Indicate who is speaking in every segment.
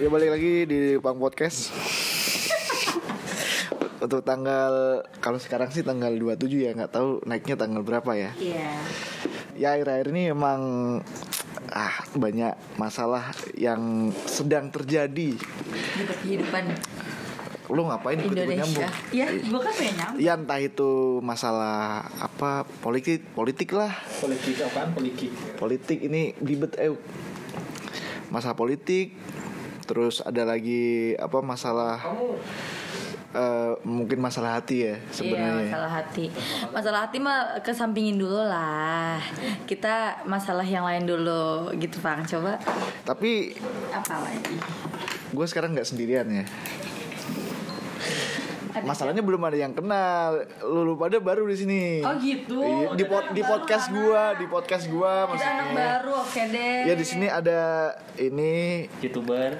Speaker 1: Ya balik lagi di Pang Podcast Untuk tanggal Kalau sekarang sih tanggal 27 ya nggak tahu naiknya tanggal berapa ya
Speaker 2: Iya.
Speaker 1: Ya akhir-akhir ini emang ah banyak masalah yang sedang terjadi
Speaker 2: Di kehidupan
Speaker 1: Lu ngapain ikut
Speaker 2: Indonesia.
Speaker 1: nyambung?
Speaker 2: Ya, gue kan pengen nyambung.
Speaker 1: Ya entah itu masalah apa politik politik lah
Speaker 3: politik apaan politik
Speaker 1: politik ini ribet eh masalah politik terus ada lagi apa masalah eh, mungkin masalah hati ya
Speaker 2: Iya,
Speaker 1: sebenarnya
Speaker 2: masalah hati. Masalah hati mah kesampingin dulu lah. Kita masalah yang lain dulu gitu, Bang. Coba
Speaker 1: tapi
Speaker 2: apa lagi?
Speaker 1: gue sekarang nggak sendirian ya
Speaker 2: Ada
Speaker 1: masalahnya belum ada yang kenal lu lu pada baru di sini
Speaker 2: Oh, gitu.
Speaker 1: Iya, di, pod- di podcast gua di podcast gua
Speaker 2: Kita anak
Speaker 1: maksudnya
Speaker 2: baru, oke deh.
Speaker 1: ya di sini ada ini
Speaker 3: youtuber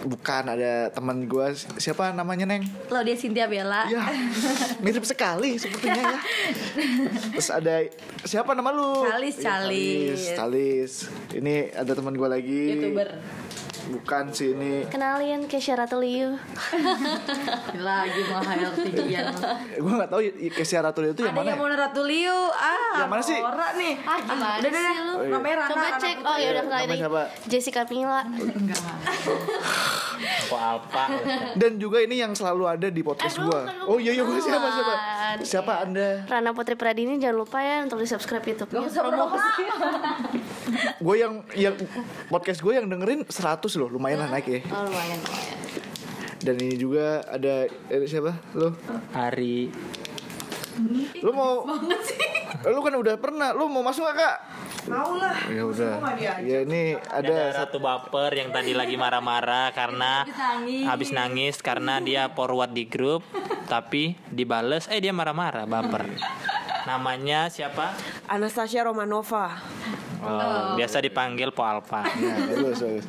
Speaker 1: bukan ada teman gua si- siapa namanya neng
Speaker 2: Lo dia Cynthia Bella.
Speaker 1: Ya, mirip sekali sepertinya ya. Terus ada siapa nama lu? Iya,
Speaker 2: Calis, Calis.
Speaker 1: Calis. Ini ada teman gua lagi.
Speaker 2: Youtuber.
Speaker 1: Bukan sih ini.
Speaker 4: Kenalin Kesha Rateliu
Speaker 2: Lagi mahal tinggian.
Speaker 1: Eh, Gua nggak tahu y- Kesia Ratul itu yang
Speaker 2: ya. Ada
Speaker 1: mana.
Speaker 2: yang
Speaker 1: ya?
Speaker 2: mau Ratu Liu. Ah,
Speaker 1: Yang mana sih? Oh, iya.
Speaker 2: Ora nih.
Speaker 4: Ah gimana
Speaker 2: Udah, udah,
Speaker 4: sih lu
Speaker 2: udah. Namanya Rana.
Speaker 4: Coba
Speaker 2: anak
Speaker 4: cek
Speaker 2: putri.
Speaker 4: Oh ya udah kenalin
Speaker 1: Namanya siapa?
Speaker 4: Jessica Mila
Speaker 3: kok apa
Speaker 1: Dan juga ini yang selalu ada di podcast
Speaker 4: Aduh,
Speaker 1: gua.
Speaker 4: kan lu
Speaker 1: Oh iya iya gua siapa siapa?
Speaker 4: kenalan.
Speaker 1: Siapa
Speaker 4: Iya.
Speaker 1: Anda?
Speaker 4: Rana Putri Pradini jangan lupa ya untuk di subscribe YouTube
Speaker 2: Gak usah promosi.
Speaker 1: Gue yang yang podcast gue yang dengerin 100 loh, lumayan lah naik ya.
Speaker 4: Oh lumayan lumayan
Speaker 1: Dan ini juga ada eh, siapa? Lu?
Speaker 3: Ari
Speaker 1: Lu mau
Speaker 2: Banget sih.
Speaker 1: lu kan udah pernah, lu mau masuk gak, Kak?
Speaker 2: Mau lah.
Speaker 1: Ya udah. Ya ini
Speaker 3: ada
Speaker 1: ada
Speaker 3: ratu baper yang tadi lagi marah-marah karena
Speaker 2: Habis nangis.
Speaker 3: habis nangis karena dia forward di grup tapi dibales eh dia marah-marah baper namanya siapa
Speaker 5: Anastasia Romanova.
Speaker 3: oh, biasa dipanggil po alpa
Speaker 1: Nah, bagus, bagus.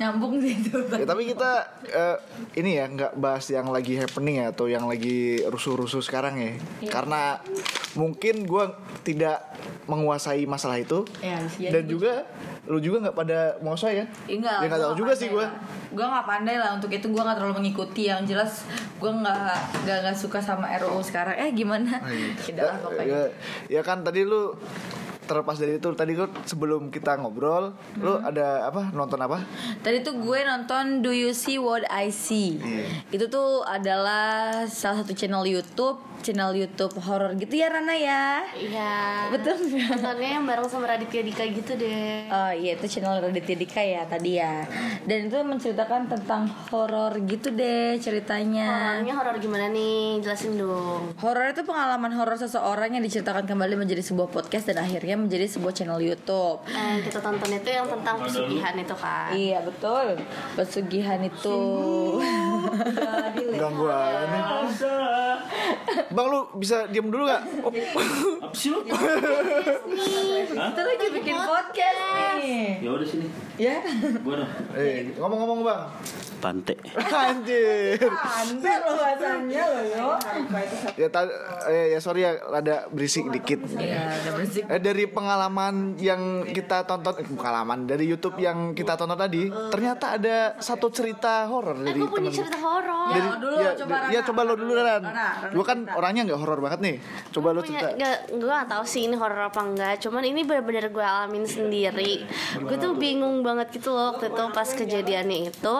Speaker 2: Nyambung sih itu.
Speaker 1: Ya, tapi kita eh, ini ya nggak bahas yang lagi happening ya atau yang lagi rusuh-rusuh sekarang ya.
Speaker 2: Iya.
Speaker 1: Karena mungkin gue tidak menguasai masalah itu
Speaker 2: Ya, sih,
Speaker 1: dan
Speaker 2: jadi-
Speaker 1: juga lu juga nggak pada mau saya.
Speaker 2: Ya enggak,
Speaker 1: Ya, nggak tahu juga sih gue.
Speaker 2: Gue nggak pandai lah untuk itu gue nggak terlalu mengikuti yang jelas gue nggak nggak nggak suka sama RUU sekarang eh gimana tidak lah pokoknya
Speaker 1: Ah, Ya, ya kan tadi lu terlepas dari itu tadi lu sebelum kita ngobrol lu ada apa nonton apa?
Speaker 2: tadi tuh gue nonton Do You See What I See
Speaker 1: Iya.
Speaker 2: itu tuh adalah salah satu channel YouTube channel YouTube horor gitu ya Rana ya
Speaker 4: Iya
Speaker 2: Betul nggak?
Speaker 4: Nontonnya yang bareng sama Raditya Dika gitu deh
Speaker 2: Oh iya itu channel Raditya Dika ya tadi ya Dan itu menceritakan tentang horor gitu deh ceritanya
Speaker 4: Orangnya horor gimana nih jelasin dong
Speaker 2: Horor itu pengalaman horor seseorang yang diceritakan kembali menjadi sebuah podcast dan akhirnya menjadi sebuah channel YouTube.
Speaker 4: Eh, kita tonton itu yang tentang pesugihan itu kan
Speaker 2: Iya betul. Pesugihan itu.
Speaker 1: Gangguan. Bang lu bisa diam dulu Oh. gak?
Speaker 2: Kita lagi bikin podcast nih.
Speaker 6: Ya udah sini.
Speaker 2: Ya.
Speaker 6: Gua dah.
Speaker 1: Eh, ngomong-ngomong bang.
Speaker 6: Tante.
Speaker 1: Anjir.
Speaker 2: Anda lo bahasanya lo yo.
Speaker 1: ya ta- eh, ya sorry ya rada berisik dikit
Speaker 2: Iya, udah bersih.
Speaker 1: Eh, dari pengalaman yang kita tonton eh, pengalaman dari YouTube yang kita tonton tadi ternyata ada satu cerita horor dari
Speaker 4: Aku Eh, punya
Speaker 1: temen
Speaker 4: cerita horor
Speaker 2: Ya, dulu
Speaker 1: ya,
Speaker 2: coba
Speaker 1: dari-
Speaker 2: Rana.
Speaker 1: ya, coba lo dulu Ran
Speaker 2: Rana, Rana
Speaker 1: Gua kan
Speaker 2: cerita.
Speaker 1: orangnya nggak horor banget nih coba lo
Speaker 4: punya
Speaker 1: cerita
Speaker 4: gak, gue gak tau sih ini horor apa enggak cuman ini benar-benar gue alamin sendiri gue tuh bingung banget gitu loh waktu itu pas kejadiannya itu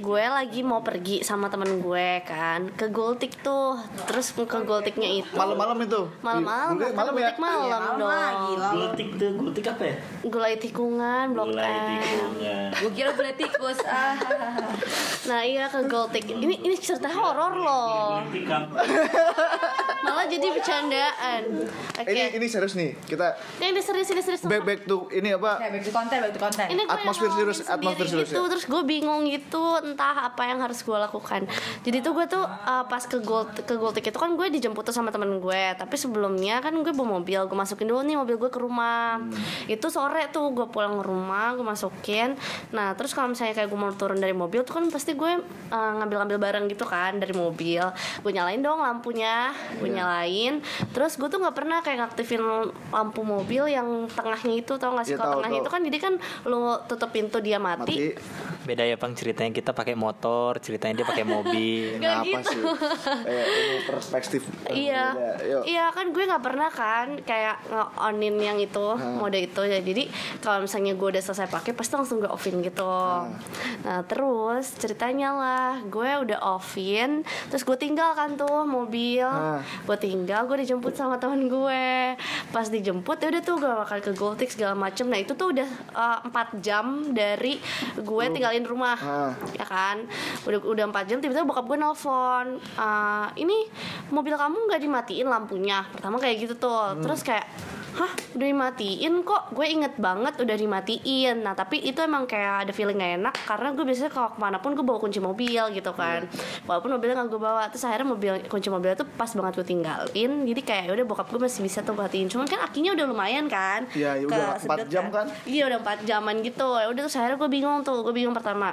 Speaker 4: gue lagi mau pergi sama temen gue kan ke Gultik tuh terus ke Gultiknya itu
Speaker 1: malam-malam itu
Speaker 4: malam-malam
Speaker 6: Iya,
Speaker 1: Di-
Speaker 4: makan
Speaker 1: malam ya
Speaker 4: Gultik malam dong
Speaker 6: Gultik tuh, gultik apa ya?
Speaker 4: gulai tikungan blok
Speaker 6: Gulai
Speaker 4: M
Speaker 6: tikungan.
Speaker 2: Gue kira boleh tikus. Ah.
Speaker 4: nah iya ke Gultik ini ini cerita horor loh
Speaker 6: Iya, Gultik kan. apa?
Speaker 4: malah jadi bercandaan oke
Speaker 1: ini ini serius nih kita
Speaker 4: yang ini serius ini serius
Speaker 1: back back to ini apa
Speaker 2: Kayak back to konten, back to konten.
Speaker 4: ini gue
Speaker 1: Atmosfer
Speaker 4: yang
Speaker 1: serius,
Speaker 4: ngalamin
Speaker 1: atmosfer
Speaker 4: sendiri
Speaker 1: serius,
Speaker 4: gitu,
Speaker 1: ya.
Speaker 4: terus gue bingung gitu entah apa yang harus gue lakukan jadi tuh gue tuh uh, pas ke gold ke Goltik itu kan gue dijemput tuh sama temen gue tapi sebelumnya kan gue bawa mobil gue masukin dulu nih mobil gue ke rumah
Speaker 1: Hmm.
Speaker 4: itu sore tuh gue pulang ke rumah gue masukin nah terus kalau misalnya kayak gue mau turun dari mobil tuh kan pasti gue uh, ngambil ngambil-ngambil barang gitu kan dari mobil gue nyalain dong lampunya gue
Speaker 1: Iya.
Speaker 4: nyalain terus gue tuh nggak pernah kayak ngaktifin lampu mobil yang tengahnya itu tau gak sih
Speaker 1: Iya,
Speaker 4: kalau
Speaker 1: tahu,
Speaker 4: tengahnya
Speaker 1: tahu.
Speaker 4: itu kan jadi kan lu tutup pintu dia mati,
Speaker 1: mati
Speaker 3: Beda ya Bang ceritanya kita pakai motor, ceritanya dia pakai mobil.
Speaker 4: Nggak
Speaker 1: kenapa
Speaker 4: gitu.
Speaker 1: sih eh, ini perspektif
Speaker 4: Iya,
Speaker 1: berbeda. Yuk.
Speaker 4: iya kan gue nggak pernah kan kayak nge-onin yang itu mode itu ya. Jadi kalau misalnya gue udah selesai pakai pasti langsung gue offin gitu. Nah terus ceritanya lah gue udah offin, terus gue tinggal kan tuh mobil,
Speaker 1: Ah.
Speaker 4: gue tinggal gue dijemput sama teman gue. Pas dijemput ya udah tuh gue makan ke Goltik segala macem. Nah itu tuh udah eh, empat jam dari gue tinggalin rumah
Speaker 1: Ah.
Speaker 4: ya kan udah udah empat jam tiba-tiba bokap gue nelfon "Eh, ini mobil kamu nggak dimatiin lampunya pertama kayak gitu tuh
Speaker 1: Hmm.
Speaker 4: terus kayak hah udah dimatiin kok gue inget banget udah dimatiin nah tapi itu emang kayak ada feeling gak enak karena gue biasanya kalau kemana pun gue bawa kunci mobil gitu kan
Speaker 1: Iya.
Speaker 4: walaupun mobilnya nggak gue bawa terus akhirnya mobil kunci mobilnya tuh pas banget gue tinggalin jadi kayak "Ya udah bokap gue masih bisa tuh matiin cuman kan akinya udah lumayan kan
Speaker 1: Iya, ya udah
Speaker 4: Kesedot
Speaker 1: empat jam kan?
Speaker 4: Iya udah 4 jaman gitu ya udah terus akhirnya gue bingung tuh Gue bingung pertama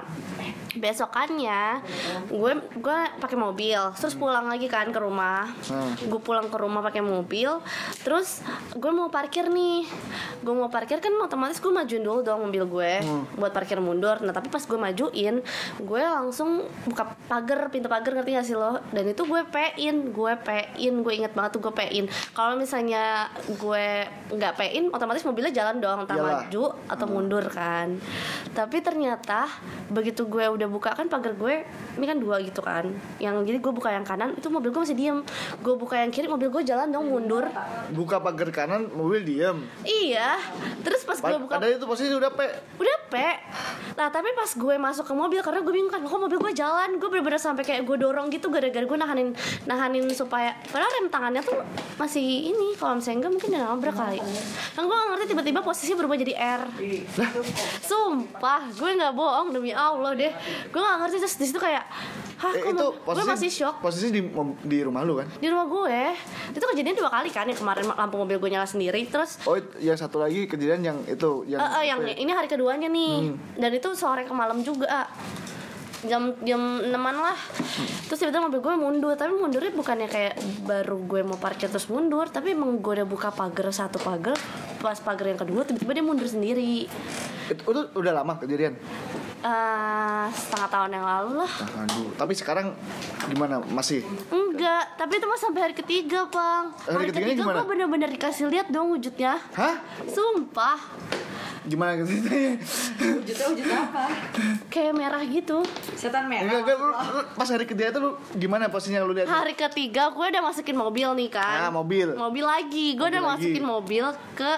Speaker 4: Besokannya Gue gue pakai mobil Terus pulang lagi kan ke rumah Gue pulang ke rumah pakai mobil Terus gue mau parkir nih Gue mau parkir kan otomatis gue majuin dulu dong mobil gue Buat parkir mundur Nah tapi pas gue majuin Gue langsung buka pagar Pintu pagar ngerti gak sih lo Dan itu gue pein Gue pein Gue inget banget tuh gue pein Kalau misalnya gue nggak pein Otomatis mobilnya jalan dong entah
Speaker 1: Iyalah. Hmm.
Speaker 4: maju atau mundur kan tapi ternyata begitu gue udah buka kan pagar gue ini kan dua gitu kan yang jadi gue buka yang kanan itu mobil gue masih diem gue buka yang kiri mobil gue jalan dong mundur
Speaker 1: buka pagar kanan mobil diem
Speaker 4: iya terus pas gue
Speaker 1: Pad-
Speaker 4: buka
Speaker 1: padahal itu posisi udah pe
Speaker 4: udah pe nah tapi pas gue masuk ke mobil karena gue bingung kan kok mobil gue jalan gue bener-bener sampai kayak gue dorong gitu gara-gara gue nahanin nahanin supaya padahal rem tangannya tuh masih ini kalau misalnya enggak mungkin udah nabrak kali kan gue gak ngerti tiba-tiba posisi berubah jadi R sumpah gue nggak bohong demi Allah deh gue gak ngerti terus disitu kayak hah
Speaker 1: Eh,
Speaker 4: Ah,
Speaker 1: itu
Speaker 4: kok ma- gue
Speaker 1: posisi
Speaker 4: masih shock
Speaker 1: posisi di mom- di rumah lu kan
Speaker 4: di rumah gue itu kejadian dua kali kan yang kemarin lampu mobil gue nyala sendiri terus
Speaker 1: oh it- yang satu lagi kejadian yang itu yang
Speaker 4: Eh, eh, yang
Speaker 1: apa ya? Hmm.
Speaker 4: ini hari keduanya nih dan itu sore ke malam juga jam jam enaman lah terus tiba-tiba mobil gue mundur tapi mundurnya bukannya kayak baru gue mau parkir terus mundur tapi emang gue udah buka pagar satu pagar pas pagar yang kedua tiba-tiba dia mundur sendiri
Speaker 1: itu, itu udah lama kejadian
Speaker 4: Eh, setengah tahun yang lalu lah
Speaker 1: Aduh, tapi sekarang gimana masih
Speaker 4: enggak tapi itu mah sampai hari ketiga bang
Speaker 1: Hari ketiganya
Speaker 4: ketiga
Speaker 1: gimana?
Speaker 4: gue bener-bener dikasih lihat dong wujudnya
Speaker 1: hah
Speaker 4: sumpah
Speaker 1: gimana gitu? ceritanya
Speaker 2: Wujudnya wujud apa?
Speaker 4: kayak merah gitu
Speaker 2: Setan
Speaker 1: enggak
Speaker 2: merah.
Speaker 1: enggak lu, lu pas hari kejadian itu lu gimana posisinya lu lihat
Speaker 4: hari ketiga gue udah masukin mobil nih kan
Speaker 1: Ah, mobil.
Speaker 4: mobil lagi gue
Speaker 1: Mobil
Speaker 4: udah
Speaker 1: lagi.
Speaker 4: masukin mobil ke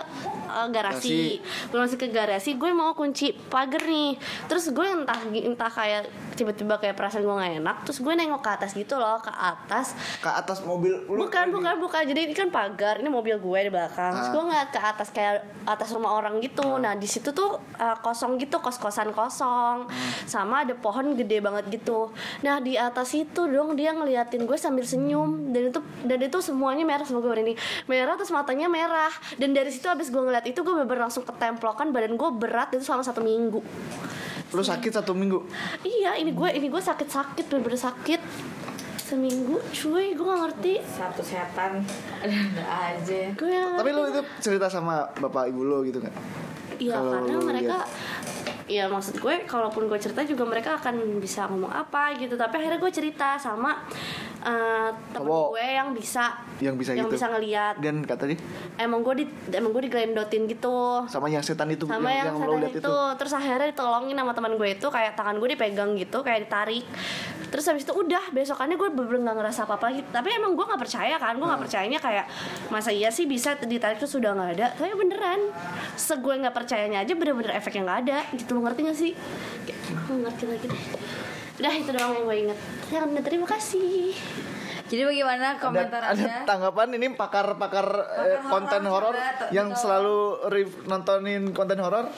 Speaker 4: eh, garasi gue masuk ke garasi gue mau kunci pagar nih terus gue entah entah kayak tiba-tiba kayak perasaan gue gak enak terus gue nengok ke atas gitu loh ke atas
Speaker 1: ke atas mobil lu
Speaker 4: bukan bukan bukan jadi ini kan pagar ini mobil gue di belakang terus
Speaker 1: Ah.
Speaker 4: gue ngeliat ke atas kayak atas rumah orang gitu nah di situ tuh uh, kosong gitu kos kosan kosong
Speaker 1: Hmm.
Speaker 4: sama ada pohon gede banget gitu nah di atas itu dong dia ngeliatin gue sambil
Speaker 1: Hmm.
Speaker 4: senyum dan itu dan itu semuanya merah sama gue ini merah terus matanya merah dan dari situ abis gue ngeliat itu gue bener langsung ketemplokan badan gue berat itu selama satu minggu
Speaker 1: lu sakit satu minggu
Speaker 4: iya ini gue ini gue sakit sakit bener bener sakit seminggu cuy gue gak ngerti
Speaker 2: Satu setan. Aduh, enggak aja.
Speaker 4: gue gak ngerti.
Speaker 1: tapi lu itu cerita sama bapak ibu lu gitu kan
Speaker 4: Iya
Speaker 1: Kalau
Speaker 4: karena
Speaker 1: lu
Speaker 4: mereka
Speaker 1: lihat.
Speaker 4: Ya maksud gue kalaupun gue cerita juga mereka akan bisa ngomong apa gitu Tapi akhirnya gue cerita sama eh, temen
Speaker 1: Cowok.
Speaker 4: gue yang bisa
Speaker 1: yang bisa
Speaker 4: yang
Speaker 1: gitu
Speaker 4: bisa ngeliat
Speaker 1: dan katanya
Speaker 4: Emang gue di, emang gue diglendotin gitu
Speaker 1: sama yang setan itu
Speaker 4: sama yang,
Speaker 1: lu
Speaker 4: setan
Speaker 1: lihat
Speaker 4: itu. terus akhirnya ditolongin sama teman gue itu kayak tangan gue dipegang gitu kayak ditarik terus habis itu udah besokannya gue bener nggak ngerasa apa apa lagi tapi emang gue nggak percaya kan gue nggak percayanya kayak masa iya sih bisa ditarik terus udah nggak ada tapi beneran se gue nggak percayanya aja bener-bener efeknya nggak ada gitu lo ngerti gak sih Kayak, "Nggak ngerti lagi deh udah itu doang yang gue inget ya udah terima kasih
Speaker 2: Jadi bagaimana
Speaker 1: ada,
Speaker 2: komentar
Speaker 1: ada
Speaker 2: Anda?
Speaker 1: tanggapan ini pakar-pakar eh,
Speaker 2: horor
Speaker 1: konten
Speaker 2: coba
Speaker 1: horor
Speaker 2: to-
Speaker 1: yang
Speaker 2: ditolong.
Speaker 1: selalu re- nontonin konten horor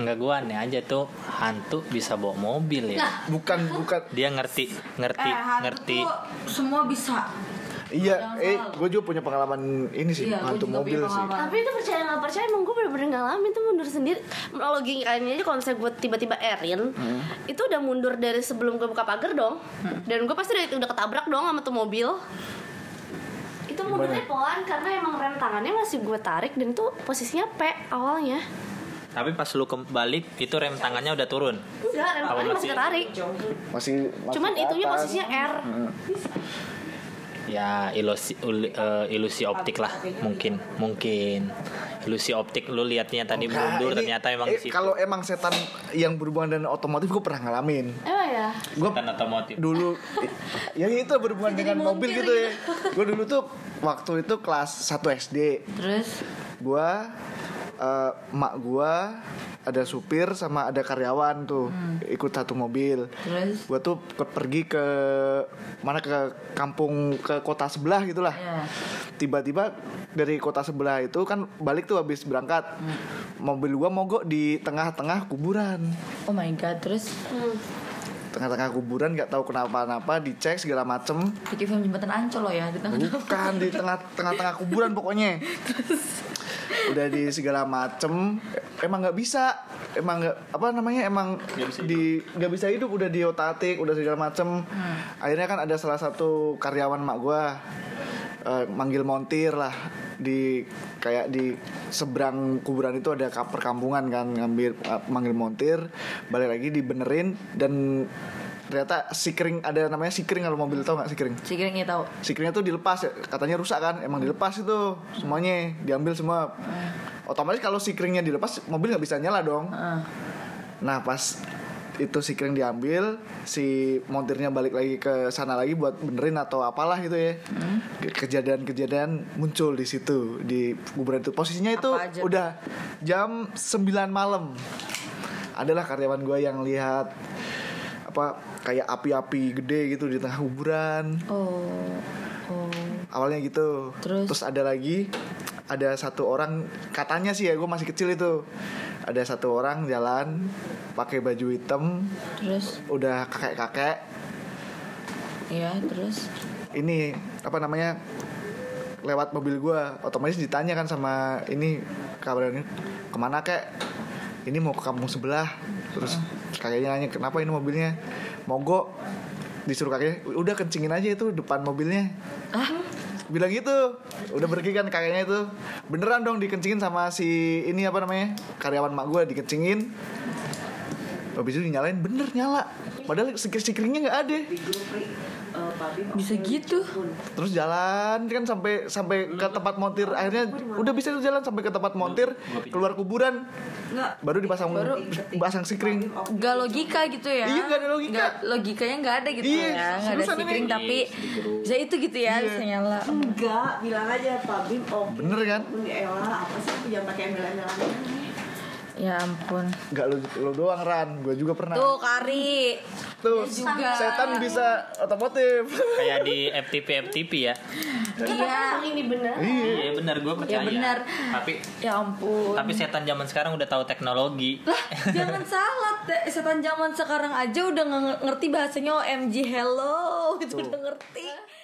Speaker 3: Enggak gua aneh aja tuh hantu bisa bawa mobil ya.
Speaker 1: bukan bukan
Speaker 3: Dia ngerti, ngerti,
Speaker 2: eh, hantu
Speaker 3: ngerti.
Speaker 2: tuh semua bisa.
Speaker 1: Iya,
Speaker 2: Jangan
Speaker 1: eh,
Speaker 2: salah.
Speaker 1: gue juga punya pengalaman ini sih,
Speaker 2: Iya, gua
Speaker 1: hantu
Speaker 2: juga
Speaker 1: mobil
Speaker 2: punya
Speaker 1: sih.
Speaker 2: pengalaman.
Speaker 4: tapi itu percaya nggak percaya emang gue bener-bener ngalamin tuh mundur sendiri logikanya aja kalau misalnya gue tiba-tiba Erin itu udah mundur dari sebelum gue buka pagar dong dan gue pasti udah, udah ketabrak dong sama tuh mobil itu mundurnya pelan karena emang rem tangannya masih gue tarik dan itu posisinya P awalnya
Speaker 3: Tapi pas lu kembali itu rem tangannya udah turun.
Speaker 4: enggak rem
Speaker 3: Apa
Speaker 4: tangannya masih
Speaker 3: masih-
Speaker 4: ketarik
Speaker 1: Masih masih
Speaker 4: cuman
Speaker 1: ke
Speaker 4: itunya
Speaker 1: atas.
Speaker 4: posisinya R
Speaker 3: Ya ilusi ul- eh, ilusi optik lah mungkin mungkin ilusi optik lu liatnya
Speaker 1: Nah,
Speaker 3: tadi Iya, mundur
Speaker 1: ini-
Speaker 3: ternyata emang
Speaker 1: eh,
Speaker 3: di situ.
Speaker 1: Kalau emang setan yang berhubungan dengan otomotif gue pernah ngalamin.
Speaker 4: emang ya
Speaker 1: Gue
Speaker 3: Setan otomotif.
Speaker 1: dulu ya itu berhubungan dengan mobil gitu ya. Gue dulu tuh waktu itu kelas 1 SD.
Speaker 2: Terus
Speaker 1: gua eh, emak gua ada supir sama ada karyawan tuh ikut satu mobil
Speaker 2: Terus?
Speaker 1: gua tuh ke- pergi ke mana ke kampung ke kota sebelah gitulah
Speaker 2: Iya.
Speaker 1: tiba-tiba dari kota sebelah itu kan balik tuh habis berangkat mobil gua mogok di tengah-tengah kuburan
Speaker 2: oh my god, terus
Speaker 1: tengah-tengah kuburan nggak tahu kenapa-napa dicek segala macem
Speaker 2: bikin film jembatan ancol loh ya di tengah
Speaker 1: Bukan di tengah tengah tengah kuburan pokoknya. Udah di segala macem emang nggak bisa emang nggak apa namanya emang di nggak bisa hidup udah diotatik udah segala macem akhirnya kan ada salah satu karyawan mak gua eh, manggil montir lah di kayak di seberang kuburan itu ada kap- perkampungan kan ngambil eh, manggil montir balik lagi dibenerin dan ternyata sikring ada namanya sikring kalau mobil tau nggak sikring
Speaker 2: Si Giring ya tahu.
Speaker 1: sikringnya tuh dilepas ya, katanya rusak kan emang dilepas itu semuanya diambil semua otomatis kalau sikringnya dilepas mobil nggak bisa nyala dong
Speaker 2: Heeh.
Speaker 1: nah pas itu sikring diambil si montirnya balik lagi ke sana lagi buat benerin atau apalah gitu ya
Speaker 2: Hmm.
Speaker 1: Ke- kejadian-kejadian muncul di situ di kuburan itu posisinya itu
Speaker 2: Apa aja?
Speaker 1: udah jam 9 malam adalah karyawan gue yang lihat apa kayak api-api gede gitu di tengah kuburan
Speaker 2: Oh. Oh.
Speaker 1: awalnya gitu
Speaker 2: Terus?
Speaker 1: ada lagi ada satu orang katanya sih ya gue masih kecil itu ada satu orang jalan pakai baju hitam
Speaker 2: Terus
Speaker 1: udah kakek kakek
Speaker 2: ya, terus
Speaker 1: ini apa namanya lewat mobil gue otomatis ditanya kan sama ini kabarnya kemana kek ini mau ke kampung sebelah terus kakeknya nanya kenapa ini mobilnya mogok disuruh kakeknya udah kencingin aja itu depan mobilnya
Speaker 2: ah
Speaker 1: bilang gitu udah pergi kan kakeknya itu beneran dong dikencingin sama si ini apa namanya karyawan mak gue dikencingin habis itu dinyalain bener nyala padahal sikir sikringnya nggak ada
Speaker 2: bisa gitu.
Speaker 1: terus jalan kan sampai sampai ke tempat montir akhirnya udah bisa tuh jalan sampai ke tempat montir keluar kuburan baru dipasang pasang sikring
Speaker 2: Gak logika gitu ya
Speaker 1: Iya, nggak ada logika.
Speaker 2: Nggak- Logikanya gak ada gitu
Speaker 1: Iya,
Speaker 2: ya Gak ada
Speaker 1: seriusan ini.
Speaker 2: sikring tapi Bisa itu gitu
Speaker 1: Iya.
Speaker 2: ya Bisa nyala
Speaker 5: Enggak, bilang aja Pak Bim oke.
Speaker 1: Bener kan?
Speaker 5: Ewa, apa sih jangan pakai embel-embelan.
Speaker 2: Ya ampun
Speaker 1: nggak lo, lo doang ran gue juga pernah
Speaker 2: Tuh Kari
Speaker 1: tuh
Speaker 2: Iya juga.
Speaker 1: setan bisa otomotif
Speaker 3: Kayak di FTP FTP ya.
Speaker 2: Iya
Speaker 4: emang ini bener
Speaker 3: Iya benar gue percaya.
Speaker 2: benar.
Speaker 3: Tapi
Speaker 2: Ya ampun
Speaker 3: tapi setan zaman sekarang udah tahu teknologi.
Speaker 2: Lah jangan salah Teh. Setan zaman sekarang aja udah nge- ngerti bahasanya OMG hello Itu udah ngerti